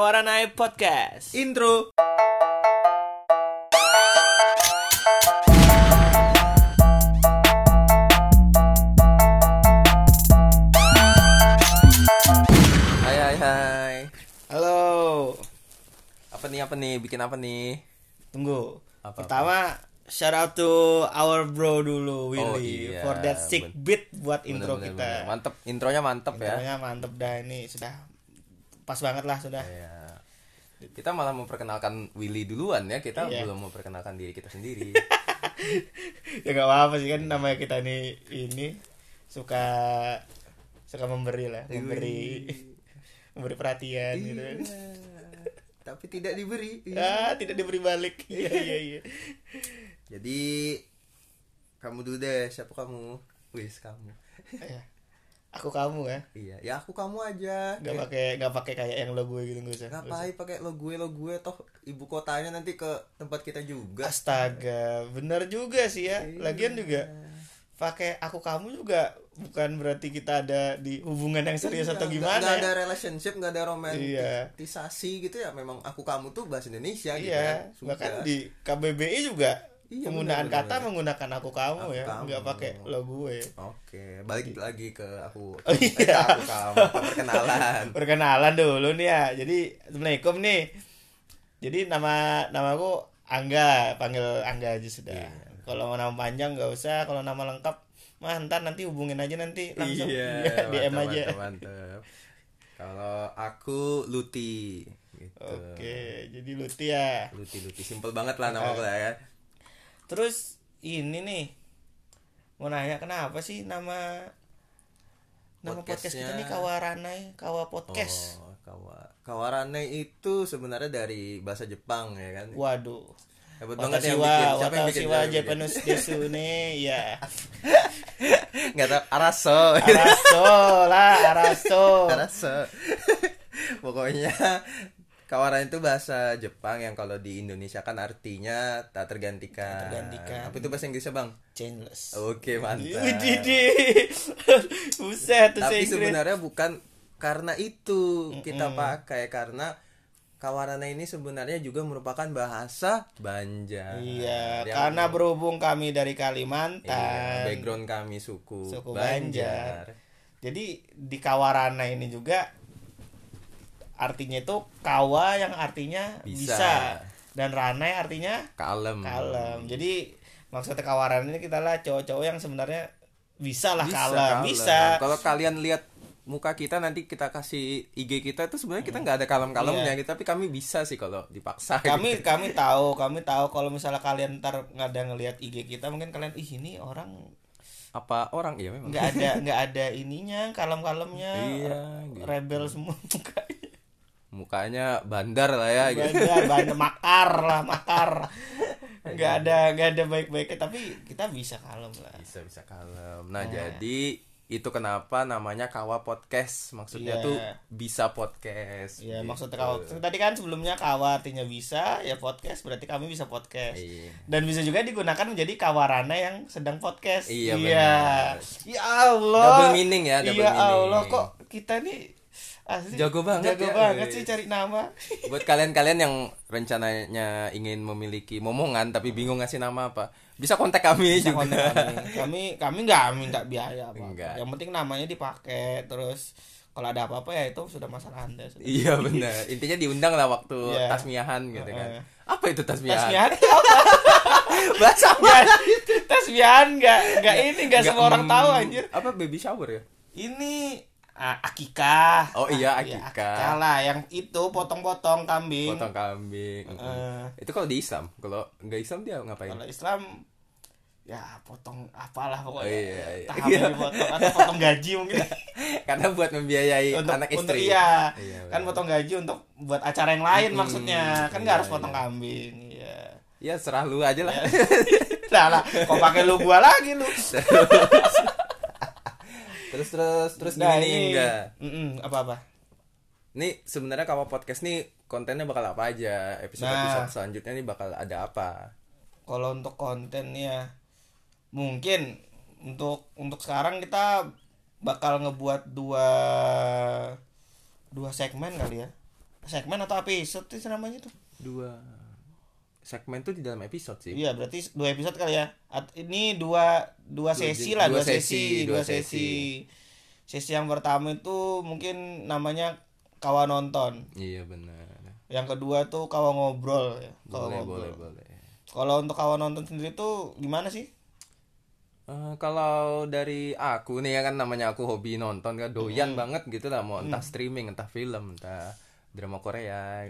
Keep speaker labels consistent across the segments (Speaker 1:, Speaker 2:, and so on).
Speaker 1: Kawaranai Podcast.
Speaker 2: Intro. Hai hai hai.
Speaker 1: Halo.
Speaker 2: Apa nih apa nih? Bikin apa nih?
Speaker 1: Tunggu.
Speaker 2: Apa-apa?
Speaker 1: Pertama shout out to our bro dulu Willy
Speaker 2: Oh, iya.
Speaker 1: for that sick beat buat
Speaker 2: Bener,
Speaker 1: intro
Speaker 2: bener,
Speaker 1: kita.
Speaker 2: bener. Mantep, intronya mantep ya.
Speaker 1: Intronya mantep dah ini sudah pas banget lah sudah.
Speaker 2: Iya. Kita malah memperkenalkan Willy duluan ya. Kita
Speaker 1: Iya.
Speaker 2: belum memperkenalkan diri kita sendiri. Iya.
Speaker 1: ya gak apa-apa sih kan namanya kita ini ini suka suka memberi lah,
Speaker 2: Iya.
Speaker 1: memberi memberi perhatian gitu. kan.
Speaker 2: Tapi tidak diberi.
Speaker 1: Ah, tidak diberi balik. Iya iya iya.
Speaker 2: Jadi kamu dulu deh, siapa kamu? Wis kamu.
Speaker 1: Ya. Aku kamu ya.
Speaker 2: Iya, ya aku kamu aja.
Speaker 1: Gak pakai gak pakai kayak yang lo gue gitu gak usah. Gak usah.
Speaker 2: Ngapain pakai lo gue lo gue toh ibu kotanya nanti ke tempat kita juga. Iya.
Speaker 1: Astaga, benar juga sih ya. Lagian juga pakai aku kamu juga bukan berarti kita ada di hubungan yang serius atau gimana
Speaker 2: Gak, Iya,
Speaker 1: ya.
Speaker 2: ada relationship, gak ada
Speaker 1: Iya.
Speaker 2: romantisasi gitu ya. Memang aku kamu tuh bahasa Indonesia gitu
Speaker 1: Iya,
Speaker 2: kan. Sudah.
Speaker 1: bahkan di KBBI juga
Speaker 2: Iya,
Speaker 1: penggunaan
Speaker 2: benar,
Speaker 1: kata menggunakan aku kamu
Speaker 2: Aku
Speaker 1: ya,
Speaker 2: kamu.
Speaker 1: nggak pakai lo gue.
Speaker 2: Oke, balik lagi ke aku.
Speaker 1: Oh,
Speaker 2: Eh,
Speaker 1: iya.
Speaker 2: aku kamu perkenalan.
Speaker 1: Perkenalan dulu nih ya. Jadi, Assalamualaikum nih. Jadi nama namaku Angga, panggil Angga aja sudah.
Speaker 2: Iya.
Speaker 1: Kalau mau nama panjang nggak usah, kalau nama lengkap mantan nanti hubungin aja nanti langsung Iya,
Speaker 2: mantap,
Speaker 1: DM aja.
Speaker 2: mantap, mantap. Kalau aku Luti gitu.
Speaker 1: Oke, jadi Luti ya.
Speaker 2: Luti Luti simple banget lah nama aku lah ya.
Speaker 1: Terus ini nih mau nanya kenapa sih nama nama podcast kita
Speaker 2: Podcastnya.
Speaker 1: nih Kawaranai Kawa Podcast.
Speaker 2: Oh, kawa. Kawarane itu sebenarnya dari bahasa Jepang ya kan.
Speaker 1: Waduh. ya,
Speaker 2: Hebat banget yang bikin. Siapa
Speaker 1: Watasiwa,
Speaker 2: yang bikin?
Speaker 1: Watasiwa
Speaker 2: Siapa yang bikin?
Speaker 1: Japanese desu ne ya.
Speaker 2: Nggak tahu Araso. gitu.
Speaker 1: Araso lah, Araso.
Speaker 2: Araso. Pokoknya Kawaran itu bahasa Jepang yang kalau di Indonesia kan artinya tak tergantikan.
Speaker 1: Tak tergantikan.
Speaker 2: Apa itu bahasa Inggrisnya, Bang?
Speaker 1: Chainless.
Speaker 2: Oke, Oh, mantap.
Speaker 1: Udidi. Iya, Buset tuh
Speaker 2: Tapi
Speaker 1: saya Inggris.
Speaker 2: sebenarnya bukan karena itu kita pakai karena Kawarana ini sebenarnya juga merupakan bahasa Banjar.
Speaker 1: Iya,
Speaker 2: Yang-
Speaker 1: karena berhubung kami dari
Speaker 2: Iya,
Speaker 1: Kalimantan.
Speaker 2: background kami suku,
Speaker 1: Suku Banjar. Jadi di Kawarana ini juga artinya itu kawa yang artinya bisa,
Speaker 2: Bisa. Hmm.
Speaker 1: dan ranai artinya
Speaker 2: Kalem.
Speaker 1: kalem. Jadi maksudnya Kawarana ini kita lah cowok-cowok yang sebenarnya bisa lah
Speaker 2: Bisa,
Speaker 1: kalem,
Speaker 2: kalem.
Speaker 1: bisa.
Speaker 2: Kalau kalian lihat muka kita nanti kita kasih IG kita itu sebenarnya
Speaker 1: Hmm.
Speaker 2: kita nggak ada kalem-kalemnya gitu, tapi kami bisa sih kalau dipaksa. gitu.
Speaker 1: Iya. Kami kami tahu, kami tahu kalau misalnya kalian ntar nggak ada ngelihat IG kita mungkin kalian ih ini orang
Speaker 2: apa orang iya memang.
Speaker 1: nggak ada nggak ada ininya kalem-kalemnya
Speaker 2: Iya, gitu.
Speaker 1: rebel semua mukanya
Speaker 2: Mukanya bandar lah ya gitu.
Speaker 1: Bandar, bandar makar lah, makar. Nggak ada, nggak ada baik-baiknya, tapi kita bisa kalem lah.
Speaker 2: bisa bisa kalem
Speaker 1: Iya.
Speaker 2: nah jadi itu kenapa namanya kawa podcast maksudnya
Speaker 1: Iya.
Speaker 2: tuh bisa podcast
Speaker 1: Ya,
Speaker 2: Gitu.
Speaker 1: maksudnya kalau tadi kan sebelumnya kawa artinya bisa, ya podcast berarti kami bisa podcast.
Speaker 2: Iya.
Speaker 1: Dan bisa juga digunakan menjadi kawarana yang sedang podcast.
Speaker 2: Iya,
Speaker 1: Ya Allah.
Speaker 2: Double meaning ya, double
Speaker 1: Iya
Speaker 2: meaning.
Speaker 1: Allah kok kita nih asli
Speaker 2: Jago banget
Speaker 1: Jago
Speaker 2: ya,
Speaker 1: banget
Speaker 2: guys.
Speaker 1: sih cari nama.
Speaker 2: buat kalian-kalian yang rencananya ingin memiliki momongan tapi bingung ngasih nama apa bisa kontak kami
Speaker 1: Hmm. Bisa
Speaker 2: juga
Speaker 1: kontak kami. Kami kami nggak minta biaya apa.
Speaker 2: Nggak.
Speaker 1: Yang penting namanya dipakai terus kalau ada apa-apa ya itu sudah masalah Anda. sudah.
Speaker 2: iya benar intinya diundang lah waktu
Speaker 1: Iya.
Speaker 2: tasmiahan gitu kan
Speaker 1: Heeh.
Speaker 2: apa itu tasmiahan
Speaker 1: Tasbihan itu apa?
Speaker 2: bahasa apa?
Speaker 1: Tasbihan enggak enggak ini
Speaker 2: Nggak,
Speaker 1: enggak Iya, semua orang
Speaker 2: mm,
Speaker 1: tahu anjir.
Speaker 2: apa baby shower ya
Speaker 1: Ini ah, akikah.
Speaker 2: Oh, iya,
Speaker 1: Ah,
Speaker 2: akikah.
Speaker 1: akikah lah yang itu potong-potong kambing.
Speaker 2: potong kambing
Speaker 1: Iya. Heeh.
Speaker 2: itu kalau di Islam kalau nggak Islam dia ngapain
Speaker 1: Kalau Islam ya potong apalah
Speaker 2: Oh,
Speaker 1: pokoknya.
Speaker 2: iya, iya.
Speaker 1: Tahap yang dipotong atau potong gaji mungkin.
Speaker 2: karena buat membiayai
Speaker 1: untuk
Speaker 2: anak
Speaker 1: untuk
Speaker 2: istri
Speaker 1: iya.
Speaker 2: Iya,
Speaker 1: kan
Speaker 2: benar.
Speaker 1: potong gaji untuk buat acara yang lain maksudnya kan nggak
Speaker 2: iya,
Speaker 1: harus potong
Speaker 2: iya.
Speaker 1: kambing iya
Speaker 2: ya serah lu aja lah
Speaker 1: nah lah kok pakai lu gua lagi lu
Speaker 2: terus terus terus
Speaker 1: Nah,
Speaker 2: gini nih enggak
Speaker 1: apa apa
Speaker 2: nih sebenarnya kamu podcast nih kontennya bakal apa aja episode
Speaker 1: Nah.
Speaker 2: episode selanjutnya nih bakal ada apa
Speaker 1: kalau untuk konten ya mungkin untuk untuk sekarang kita bakal ngebuat dua dua segmen kali ya segmen atau episode itu namanya tuh
Speaker 2: dua segmen tuh di dalam episode sih
Speaker 1: iya berarti dua episode kali ya At- ini dua dua sesi lah
Speaker 2: dua
Speaker 1: dua, sesi,
Speaker 2: sesi,
Speaker 1: dua
Speaker 2: dua
Speaker 1: sesi sesi yang pertama itu mungkin namanya kawan nonton
Speaker 2: iya benar
Speaker 1: yang kedua tuh kawan ngobrol ya
Speaker 2: boleh
Speaker 1: kawan ngobrol
Speaker 2: boleh boleh
Speaker 1: kalau untuk kawan nonton sendiri tuh gimana sih
Speaker 2: Eh, kalau dari aku nih ya kan namanya aku hobi nonton kan doyan banget gitu lah mau entah streaming entah film entah drama Korea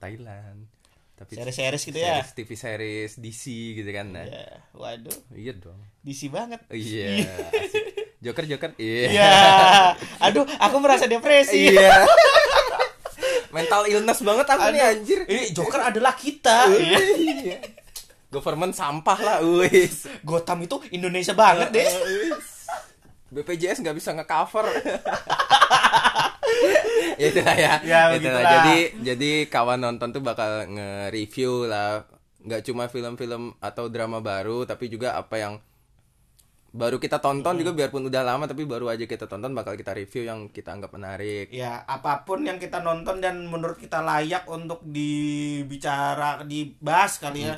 Speaker 2: Thailand tapi
Speaker 1: series-series gitu
Speaker 2: Hmm.
Speaker 1: ya
Speaker 2: series TV series DC gitu kan nah.
Speaker 1: ya waduh
Speaker 2: iya dong
Speaker 1: disi banget
Speaker 2: iya asik. Joker Joker iya
Speaker 1: ya aduh aku merasa depresi
Speaker 2: iya mental illness banget aku nih anjir
Speaker 1: Ini Eh, Joker adalah kita.
Speaker 2: iya government sampah lah wis
Speaker 1: Gotham itu Indonesia banget deh.
Speaker 2: BPJS nggak bisa ngecover. ya itulah ya.
Speaker 1: Ya,
Speaker 2: itulah.
Speaker 1: begitulah.
Speaker 2: Jadi jadi kawan nonton tuh bakal nge-review lah nggak cuma film-film atau drama baru tapi juga apa yang baru kita tonton juga biarpun udah lama tapi baru aja kita tonton bakal kita review yang kita anggap menarik.
Speaker 1: Ya, apapun yang kita nonton dan menurut kita layak untuk dibicara, dibahas kali ya.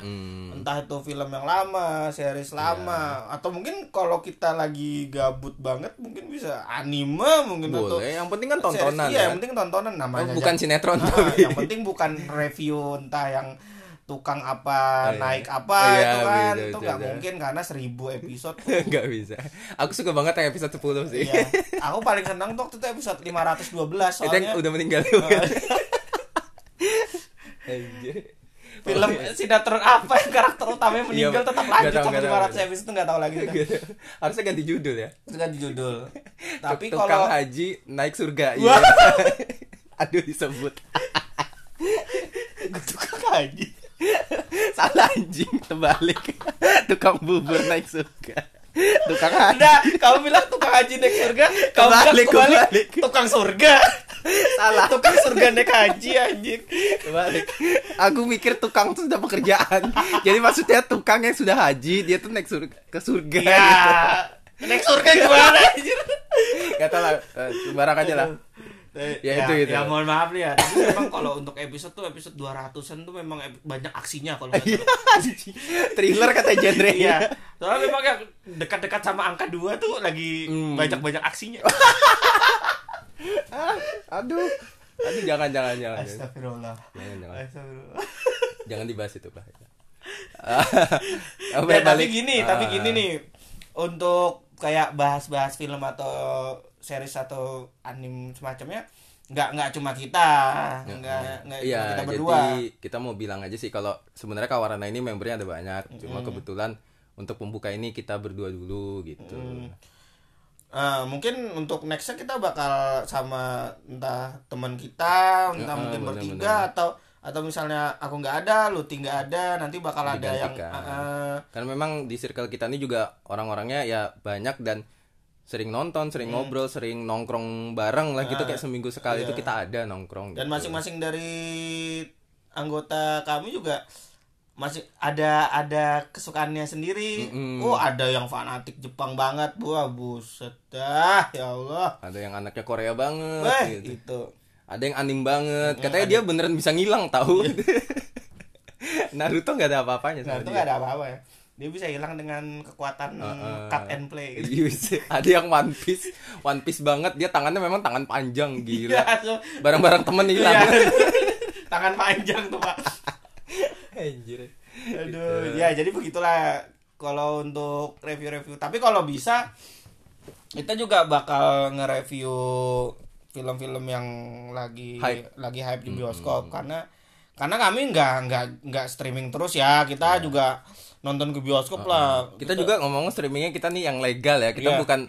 Speaker 1: Entah itu film yang lama, series lama,
Speaker 2: Iya.
Speaker 1: atau mungkin kalau kita lagi gabut banget mungkin bisa anime mungkin atau
Speaker 2: Boleh, yang penting kan
Speaker 1: series.
Speaker 2: tontonan
Speaker 1: Iya,
Speaker 2: ya.
Speaker 1: yang penting tontonan namanya.
Speaker 2: Bukan
Speaker 1: aja.
Speaker 2: sinetron
Speaker 1: Ah,
Speaker 2: tapi.
Speaker 1: yang penting bukan review entah yang tukang
Speaker 2: Oh,
Speaker 1: apa
Speaker 2: iya.
Speaker 1: naik apa
Speaker 2: Iya,
Speaker 1: itu kan
Speaker 2: betul,
Speaker 1: itu
Speaker 2: betul,
Speaker 1: nggak
Speaker 2: betul.
Speaker 1: mungkin karena seribu episode
Speaker 2: nggak bisa. Aku suka banget yang episode 10 sih.
Speaker 1: Iya. Aku paling senang tuh waktu itu episode 512
Speaker 2: Itu yang
Speaker 1: soalnya Oh.
Speaker 2: udah meninggal juga. Anjir.
Speaker 1: film sinetron apa yang karakter utamanya meninggal
Speaker 2: Oh, Iya,
Speaker 1: tetap
Speaker 2: nggak
Speaker 1: lanjut
Speaker 2: tahu,
Speaker 1: sampai
Speaker 2: nggak tahu,
Speaker 1: 500 episode itu nggak tahu lagi kita.
Speaker 2: Gitu. Harusnya ganti judul ya.
Speaker 1: Itu kan judul. Tapi
Speaker 2: Tuk- tukang
Speaker 1: kalau
Speaker 2: haji naik surga. Iya.
Speaker 1: Wah.
Speaker 2: Aduh disebut.
Speaker 1: tukang haji.
Speaker 2: Salah anjing terbalik. Tukang bubur naik surga. Tukang haji.
Speaker 1: Ada kamu bilang tukang haji naik surga, kamu bilang
Speaker 2: Kebalik,
Speaker 1: kebalik,
Speaker 2: kebalik.
Speaker 1: tukang surga.
Speaker 2: Salah.
Speaker 1: Tukang surga naik haji anjing.
Speaker 2: Terbalik. Aku mikir tukang tuh sudah pekerjaan. Jadi maksudnya tukang yang sudah haji dia tuh naik surga ke surga.
Speaker 1: Ya. Naik surga gimana anjir?
Speaker 2: Gitu. Gak tau lah. eh, Sembarang aja lah. Ya, itu, itu.
Speaker 1: Ya mohon maaf nih ya. Tapi memang kalau untuk episode tuh episode 200-an tuh memang ep- banyak aksinya kalau nggak salah.
Speaker 2: Thriller kata genre.
Speaker 1: Iya. Soalnya memang yang dekat-dekat sama angka 2 tuh lagi
Speaker 2: Hmm.
Speaker 1: banyak-banyak aksinya.
Speaker 2: Ah, aduh. Aduh jangan jangan jangan.
Speaker 1: Astagfirullah.
Speaker 2: Jangan jangan.
Speaker 1: Astagfirullah.
Speaker 2: ya, Jangan dibahas itu, Pak.
Speaker 1: Ya, tapi gini,
Speaker 2: Ah,
Speaker 1: tapi gini nih. Untuk kayak bahas-bahas film atau series atau anime semacamnya nggak nggak cuma kita, nggak nggak cuma
Speaker 2: Iya,
Speaker 1: Nah, kita
Speaker 2: jadi
Speaker 1: berdua.
Speaker 2: kita mau bilang aja sih kalau sebenarnya Kawarana ini membernya ada banyak. Cuma kebetulan untuk pembuka ini kita berdua dulu gitu.
Speaker 1: Eh, mungkin untuk nextnya kita bakal sama entah teman kita, entah
Speaker 2: Ya,
Speaker 1: mungkin
Speaker 2: benar-benar.
Speaker 1: bertiga atau atau misalnya aku nggak ada, lu tinggal ada, nanti bakal ada yang
Speaker 2: Digantikan.
Speaker 1: eh, eh,
Speaker 2: Karena memang di circle kita ini juga orang-orangnya ya banyak dan sering nonton,
Speaker 1: Mm.
Speaker 2: sering ngobrol, sering nongkrong bareng lah gitu kayak seminggu sekali itu kita ada nongkrong.
Speaker 1: Ah, iya. dan
Speaker 2: gitu.
Speaker 1: masing-masing dari anggota kami juga masih ada ada kesukaannya sendiri. Oh, ada yang fanatik Jepang banget. Wah, buset dah, ya Allah.
Speaker 2: ada yang anaknya Korea banget
Speaker 1: Weh,
Speaker 2: gitu.
Speaker 1: itu.
Speaker 2: Ada yang anim banget. Katanya dia beneran bisa ngilang tahu. Naruto nggak ada apa-apanya
Speaker 1: Nah,
Speaker 2: sama Iya,
Speaker 1: itu
Speaker 2: dia. Ah,
Speaker 1: nggak ada apa-apa ya. Dia bisa hilang dengan kekuatan cut and play gitu.
Speaker 2: Iya, ada yang One Piece, One Piece banget. Dia tangannya memang tangan panjang
Speaker 1: Iya,
Speaker 2: gila.
Speaker 1: so-
Speaker 2: Barang-barang temen hilang.
Speaker 1: Iya. Tangan panjang tuh, Pak.
Speaker 2: Anjir.
Speaker 1: Aduh,
Speaker 2: Iya.
Speaker 1: ya jadi begitulah kalau untuk review-review. Tapi kalau bisa kita juga bakal nge-review film-film yang lagi
Speaker 2: Hype.
Speaker 1: lagi hype di bioskop karena karena kami nggak nggak nggak streaming terus ya.
Speaker 2: Iya.
Speaker 1: Kita juga nonton ke bioskop lah.
Speaker 2: Kita juga ngomong streamingnya kita nih yang legal ya. Kita
Speaker 1: Iya.
Speaker 2: bukan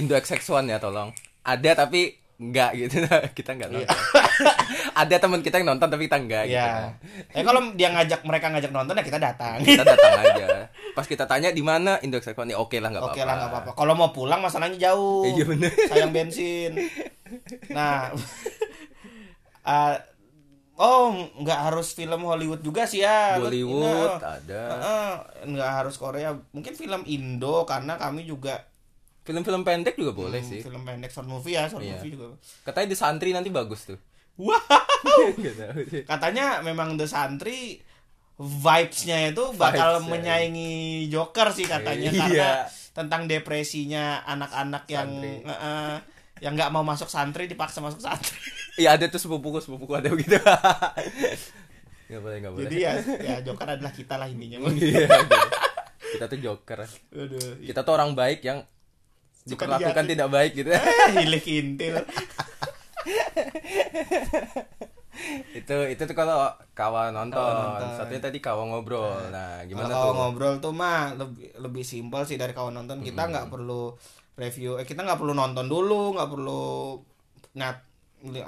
Speaker 2: Indo XX1 ya tolong. Ada tapi nggak gitu. kita nggak nonton. ada teman kita yang nonton tapi kita nggak gitu.
Speaker 1: Ya. Eh kalau dia ngajak mereka ngajak nonton ya kita datang.
Speaker 2: Kita datang aja. Pas kita tanya di mana Indo XX1 ya oke lah nggak
Speaker 1: Oke
Speaker 2: apa-apa.
Speaker 1: lah nggak apa-apa. Kalau mau pulang masalahnya jauh.
Speaker 2: Iya, bener.
Speaker 1: Sayang bensin. Nah, ah, oh nggak harus film Hollywood juga sih ya.
Speaker 2: Bollywood ah.
Speaker 1: Nah,
Speaker 2: ada.
Speaker 1: eh, nggak harus Korea. Mungkin film Indo karena kami juga
Speaker 2: Film-film
Speaker 1: Hmm.
Speaker 2: pendek juga boleh sih. Iya.
Speaker 1: film pendek short movie ya short movie juga.
Speaker 2: Katanya di santri nanti bagus tuh. Gitu.
Speaker 1: Wah,
Speaker 2: Nggak tahu sih.
Speaker 1: Katanya memang The Santri vibes-nya itu bakal
Speaker 2: Vibes-nya.
Speaker 1: menyaingi Joker sih katanya
Speaker 2: Iya.
Speaker 1: karena tentang depresinya anak-anak yang
Speaker 2: Santri.
Speaker 1: eh, eh, yang nggak mau masuk santri dipaksa masuk santri.
Speaker 2: Iya ada tuh sepupuku sepupuku ada begitu. Gak boleh gak boleh.
Speaker 1: Jadi ya ya Joker adalah kita lah intinya.
Speaker 2: Iya, kita tuh joker.
Speaker 1: Aduh.
Speaker 2: Kita tuh orang baik yang
Speaker 1: Suka
Speaker 2: diperlakukan
Speaker 1: dijati.
Speaker 2: tidak baik gitu.
Speaker 1: Eh, Hilik intil.
Speaker 2: itu itu tuh kalau kawan nonton.
Speaker 1: Kawan nonton.
Speaker 2: Satunya tadi kawan ngobrol. Nah,
Speaker 1: Kalau
Speaker 2: gimana
Speaker 1: kawan
Speaker 2: tuh?
Speaker 1: ngobrol tuh mah lebih lebih simpel sih dari kawan
Speaker 2: Hmm.
Speaker 1: nonton. Kita nggak perlu review. Eh kita nggak perlu nonton dulu, nggak perlu ngat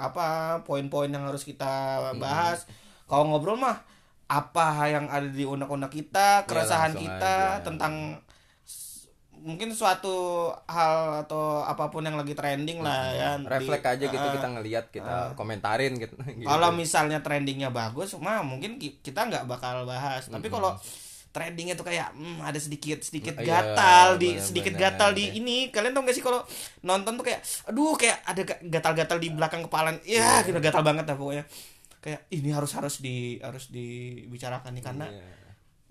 Speaker 1: apa poin-poin yang harus kita
Speaker 2: Hmm.
Speaker 1: bahas. Kalau ngobrol mah apa yang ada di unek-unek kita,
Speaker 2: Iya,
Speaker 1: keresahan
Speaker 2: langsung
Speaker 1: kita
Speaker 2: aja.
Speaker 1: tentang s- mungkin suatu hal atau apapun yang lagi trending lah ya. Di-
Speaker 2: Reflek Hmm. aja gitu
Speaker 1: Ah.
Speaker 2: kita ngelihat, kita komentarin gitu. gitu.
Speaker 1: Kalau misalnya trendingnya bagus, mah mungkin ki- kita nggak bakal bahas. Tapi kalau trendingnya tuh kayak hmm, ada sedikit sedikit
Speaker 2: Iya,
Speaker 1: gatal di
Speaker 2: benar-benar,
Speaker 1: sedikit gatal di
Speaker 2: iya.
Speaker 1: ini. Kalian tau gak sih kalau nonton tuh kayak, aduh kayak ada ga- gatal-gatal di belakang kepala.
Speaker 2: Iya.
Speaker 1: Ya, gitu gatal banget dah pokoknya. Kayak ini harus harus di harus dibicarakan nih karena
Speaker 2: Iya.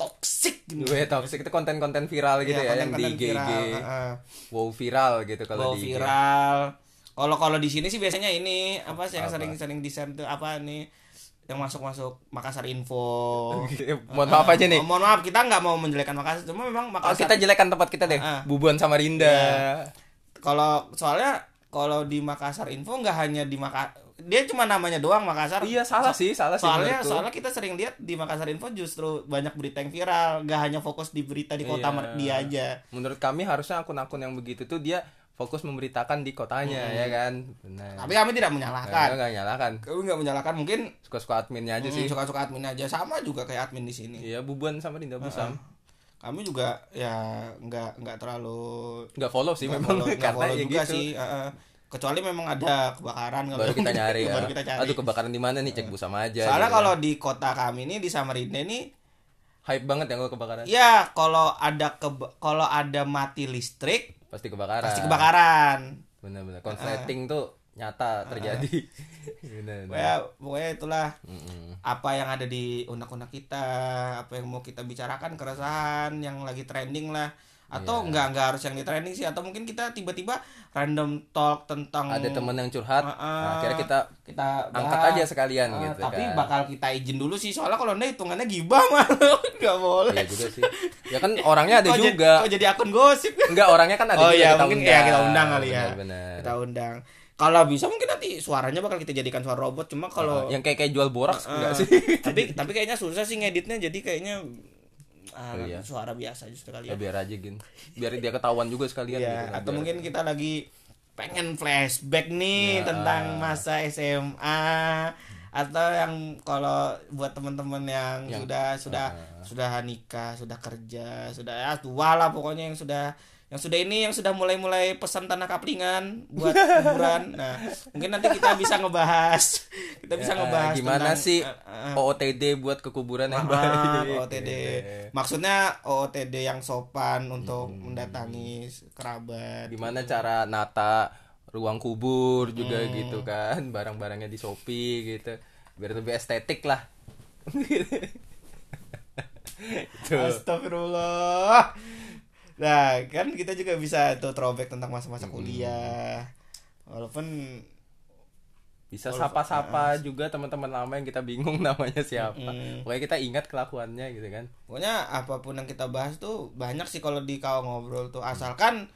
Speaker 1: toksik gitu.
Speaker 2: Gue toxic itu konten-konten viral gitu ya, yang di
Speaker 1: Iya, konten-konten
Speaker 2: IG.
Speaker 1: viral, heeh.
Speaker 2: Wow viral gitu kalau
Speaker 1: Kalau
Speaker 2: di IG.
Speaker 1: viral. Kalau kalau di sini sih biasanya ini apa sih yang sering-sering di share tuh apa nih yang masuk-masuk Makassar Info.
Speaker 2: Mohon maaf aja nih.
Speaker 1: Oh, mohon maaf kita nggak mau menjelekan Makassar, cuma memang
Speaker 2: Kalau
Speaker 1: Makassar.
Speaker 2: kita jelekan tempat kita deh,
Speaker 1: Ah, ah.
Speaker 2: Bubuan sama Rinda.
Speaker 1: Kalau soalnya kalau di Makassar Info nggak hanya di Makassar, dia cuma namanya doang Makassar.
Speaker 2: Iya, salah
Speaker 1: So-
Speaker 2: sih, salah sih
Speaker 1: Soalnya
Speaker 2: menurutku.
Speaker 1: soalnya kita sering lihat di Makassar Info justru banyak berita yang viral, nggak hanya fokus di berita di kota
Speaker 2: Iya.
Speaker 1: mer- dia aja.
Speaker 2: Menurut kami harusnya akun-akun yang begitu tuh dia fokus memberitakan di kotanya
Speaker 1: Hmm.
Speaker 2: ya kan. Benar.
Speaker 1: Tapi kami tidak
Speaker 2: Nah,
Speaker 1: menyalahkan.
Speaker 2: nggak nyalakan.
Speaker 1: Kami nggak menyalahkan mungkin
Speaker 2: Suka-suka adminnya aja
Speaker 1: hmm,
Speaker 2: Iya sih.
Speaker 1: suka-suka admin aja sama juga kayak admin di sini.
Speaker 2: Iya, Bubuan sama
Speaker 1: Ah,
Speaker 2: Rinda Busam.
Speaker 1: Kami juga ya nggak nggak terlalu
Speaker 2: Nggak follow sih
Speaker 1: nggak
Speaker 2: memang
Speaker 1: follow- nggak
Speaker 2: karena
Speaker 1: follow
Speaker 2: ya
Speaker 1: juga
Speaker 2: gitu.
Speaker 1: sih. eh, eh. kecuali memang ada kebakaran kalau
Speaker 2: Baru kita nyari ya.
Speaker 1: Baru kita cari.
Speaker 2: Aduh kebakaran di mana nih cek Busam aja.
Speaker 1: Soalnya
Speaker 2: gitu.
Speaker 1: kalau di kota kami ini di Samarinda ini
Speaker 2: hype banget ya kalau kebakaran.
Speaker 1: ya kalau ada keba- kalau ada mati listrik
Speaker 2: Pasti kebakaran.
Speaker 1: pasti kebakaran. Ah.
Speaker 2: Benar-benar konsleting tuh nyata terjadi. Benar.
Speaker 1: Ya, pokoknya itulah
Speaker 2: Mm-mm.
Speaker 1: apa yang ada di unek-unek kita, apa yang mau kita bicarakan keresahan yang lagi trending lah
Speaker 2: Iya.
Speaker 1: atau nggak nggak harus yang di trending sih atau mungkin kita tiba-tiba random talk tentang
Speaker 2: Ada teman yang curhat,
Speaker 1: Ah, ah.
Speaker 2: nah, akhirnya kita
Speaker 1: kita
Speaker 2: angkat
Speaker 1: bahas.
Speaker 2: aja sekalian
Speaker 1: Ah,
Speaker 2: gitu
Speaker 1: tapi
Speaker 2: kan.
Speaker 1: bakal kita izin dulu sih soalnya kalau enggak hitungannya gibah malu nggak boleh
Speaker 2: Iya juga sih. Ya kan orangnya ada
Speaker 1: Kok Oh, jadi-
Speaker 2: juga.
Speaker 1: kok jadi akun gosip
Speaker 2: Enggak, orangnya kan ada
Speaker 1: oh
Speaker 2: juga
Speaker 1: iya
Speaker 2: kita
Speaker 1: mungkin
Speaker 2: undang.
Speaker 1: ya kita undang kali ya
Speaker 2: Benar-benar.
Speaker 1: kita undang kalau bisa mungkin nanti suaranya bakal kita jadikan suara robot cuma kalau
Speaker 2: Ah, yang kayak kayak jual boraks enggak sih?
Speaker 1: tapi tapi kayaknya susah sih ngeditnya jadi kayaknya ah,
Speaker 2: Oh, iya.
Speaker 1: suara biasa justru kali
Speaker 2: Ya
Speaker 1: ya,
Speaker 2: biar aja gin. Biar dia ketahuan juga sekalian
Speaker 1: Iya,
Speaker 2: gitu.
Speaker 1: atau
Speaker 2: Biar-
Speaker 1: mungkin kita lagi pengen flashback nih
Speaker 2: Ya.
Speaker 1: tentang masa SMA atau yang kalau buat teman-teman yang,
Speaker 2: Yang- ah.
Speaker 1: sudah sudah sudah nikah sudah kerja sudah ya tua lah pokoknya yang sudah yang sudah ini yang sudah mulai-mulai pesan tanah kaplingan buat kuburan nah mungkin nanti kita bisa ngebahas kita bisa
Speaker 2: Ya,
Speaker 1: ngebahas
Speaker 2: gimana
Speaker 1: tentang, ah,
Speaker 2: sih
Speaker 1: eh, eh,
Speaker 2: OOTD buat kekuburan yang
Speaker 1: Maaf,
Speaker 2: baik. Iya. Gitu.
Speaker 1: OOTD. Maksudnya OOTD yang sopan untuk
Speaker 2: Hmm.
Speaker 1: mendatangi kerabat.
Speaker 2: Gimana cara nata ruang kubur juga
Speaker 1: Hmm.
Speaker 2: gitu kan, barang-barangnya di Shopee gitu. Biar lebih estetik lah. Gitu.
Speaker 1: Astagfirullah. Nah, kan kita juga bisa tuh throwback tentang masa-masa
Speaker 2: Hmm.
Speaker 1: kuliah. Walaupun
Speaker 2: bisa
Speaker 1: Nah.
Speaker 2: sapa-sapa juga teman-teman lama yang kita bingung namanya siapa.
Speaker 1: Mm.
Speaker 2: Pokoknya kita ingat kelakuannya gitu kan.
Speaker 1: pokoknya apapun yang kita bahas tuh banyak sih kalau di kawan ngobrol tuh asalkan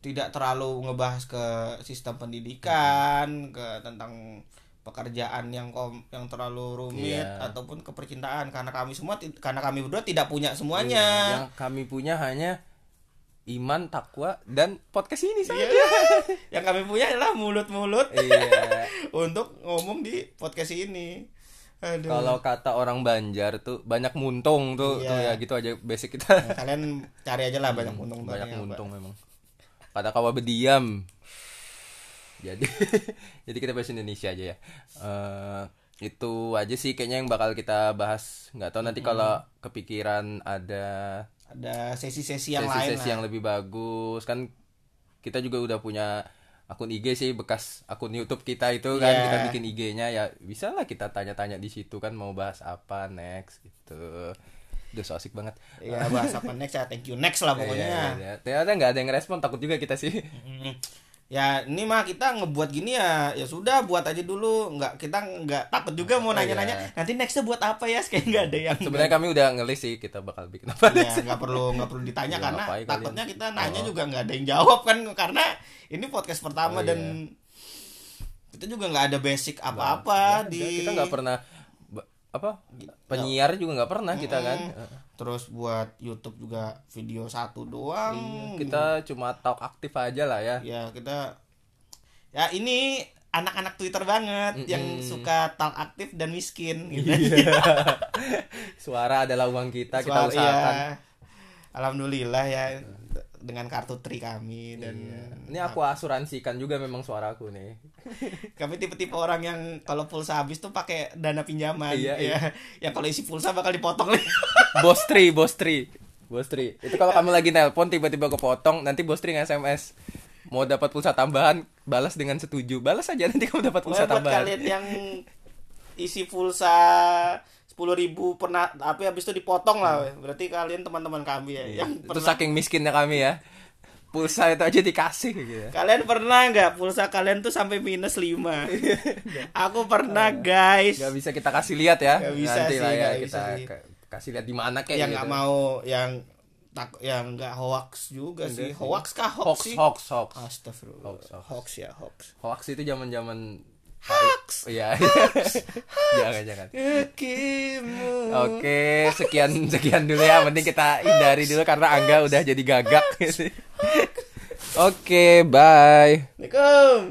Speaker 1: tidak terlalu ngebahas ke sistem
Speaker 2: Hmm.
Speaker 1: pendidikan, ke tentang pekerjaan yang kom yang terlalu rumit
Speaker 2: Iya.
Speaker 1: ataupun ke percintaan karena kami semua ti- karena kami berdua tidak punya semuanya.
Speaker 2: Iya, Yang kami punya hanya iman, takwa dan podcast ini saja.
Speaker 1: Iya. yang kami punya adalah mulut-mulut
Speaker 2: Iya.
Speaker 1: untuk ngomong di podcast ini. Aduh.
Speaker 2: Kalau kata orang Banjar tuh banyak muntung tuh, tuh ya
Speaker 1: Iya.
Speaker 2: gitu aja basic kita.
Speaker 1: Nah, kalian cari aja lah banyak untung
Speaker 2: banyak
Speaker 1: untungnya,
Speaker 2: muntung memang. Kata kawa berdiam. Jadi jadi kita bahas Indonesia aja ya. Eh, itu aja sih kayaknya yang bakal kita bahas. Nggak tahu nanti kalau kepikiran ada
Speaker 1: Pak. Ada sesi-sesi yang lain
Speaker 2: sesi-sesi
Speaker 1: lah.
Speaker 2: yang lebih bagus kan kita juga udah punya akun IG sih bekas akun YouTube kita itu kan
Speaker 1: Iya.
Speaker 2: kita bikin IG-nya ya bisa lah kita tanya-tanya di situ kan mau bahas apa next gitu udah so asik banget
Speaker 1: ya bahas apa next ya thank you next lah pokoknya
Speaker 2: ya, ternyata nggak ada yang respon takut juga kita sih
Speaker 1: Mm. ya ini mah kita ngebuat gini ya ya sudah buat aja dulu nggak kita nggak takut juga mau nanya-nanya
Speaker 2: Iya.
Speaker 1: nanti nextnya buat apa ya kayak nggak ada yang
Speaker 2: sebenarnya kami udah ngelis sih kita bakal bikin apa
Speaker 1: ya nggak perlu nggak perlu ditanya
Speaker 2: Iya,
Speaker 1: karena
Speaker 2: ngapain
Speaker 1: takutnya
Speaker 2: kalian?
Speaker 1: kita nanya juga nggak ada yang jawab kan karena ini podcast pertama
Speaker 2: Oh,
Speaker 1: dan
Speaker 2: iya.
Speaker 1: kita juga nggak ada basic
Speaker 2: Nggak
Speaker 1: apa-apa
Speaker 2: ada,
Speaker 1: di
Speaker 2: Iya, kita nggak pernah ba- apa penyiar juga nggak pernah kita kan
Speaker 1: terus buat YouTube juga video satu doang
Speaker 2: Iya, kita cuma talk aktif aja lah ya
Speaker 1: ya kita ya ini anak-anak Twitter banget yang suka talk aktif dan miskin gitu.
Speaker 2: suara adalah uang Iya. kita kita
Speaker 1: Soal-
Speaker 2: usahakan
Speaker 1: iya. alhamdulillah ya dengan kartu tri kami dan
Speaker 2: ini
Speaker 1: Ah.
Speaker 2: aku asuransikan juga memang suaraku nih
Speaker 1: Kami tipe-tipe orang yang kalau pulsa habis tuh pakai dana pinjaman.
Speaker 2: Iya,
Speaker 1: ya.
Speaker 2: iya.
Speaker 1: Yang kalau isi pulsa bakal dipotong nih.
Speaker 2: bostri bostri bostri itu kalau kamu lagi nelpon tiba-tiba kepotong nanti bostri nge sms mau dapat pulsa tambahan balas dengan setuju balas aja nanti kamu dapat pulsa
Speaker 1: Pokoknya buat
Speaker 2: tambahan
Speaker 1: kalian yang isi pulsa sepuluh ribu pernah tapi habis itu dipotong lah. weh. Berarti kalian teman-teman kami ya. Yang
Speaker 2: Hmm. Iya. itu
Speaker 1: pernah,
Speaker 2: saking miskinnya kami ya pulsa itu aja dikasih gitu ya
Speaker 1: kalian pernah nggak pulsa kalian tuh sampai minus 5 Aku pernah guys.
Speaker 2: nggak bisa kita kasih lihat ya
Speaker 1: Nggak bisa
Speaker 2: nanti
Speaker 1: sih,
Speaker 2: lah ya
Speaker 1: nggak bisa
Speaker 2: kita
Speaker 1: sih.
Speaker 2: ka- kasih lihat di mana kayak
Speaker 1: yang
Speaker 2: gitu.
Speaker 1: nggak mau yang tak yang nggak hoax juga sih. Hoax kah hoax,
Speaker 2: hoax
Speaker 1: sih?
Speaker 2: hoax hoax
Speaker 1: Astagfirullah.
Speaker 2: Hoax, hoax.
Speaker 1: hoax ya hoax.
Speaker 2: hoax itu zaman zaman
Speaker 1: Hoax.
Speaker 2: Iya. jangan jangan
Speaker 1: Kakimu
Speaker 2: Oke, sekian sekian dulu ya. Mending kita hindari dulu karena Angga udah jadi gagak. Oke, bye.
Speaker 1: Assalamualaikum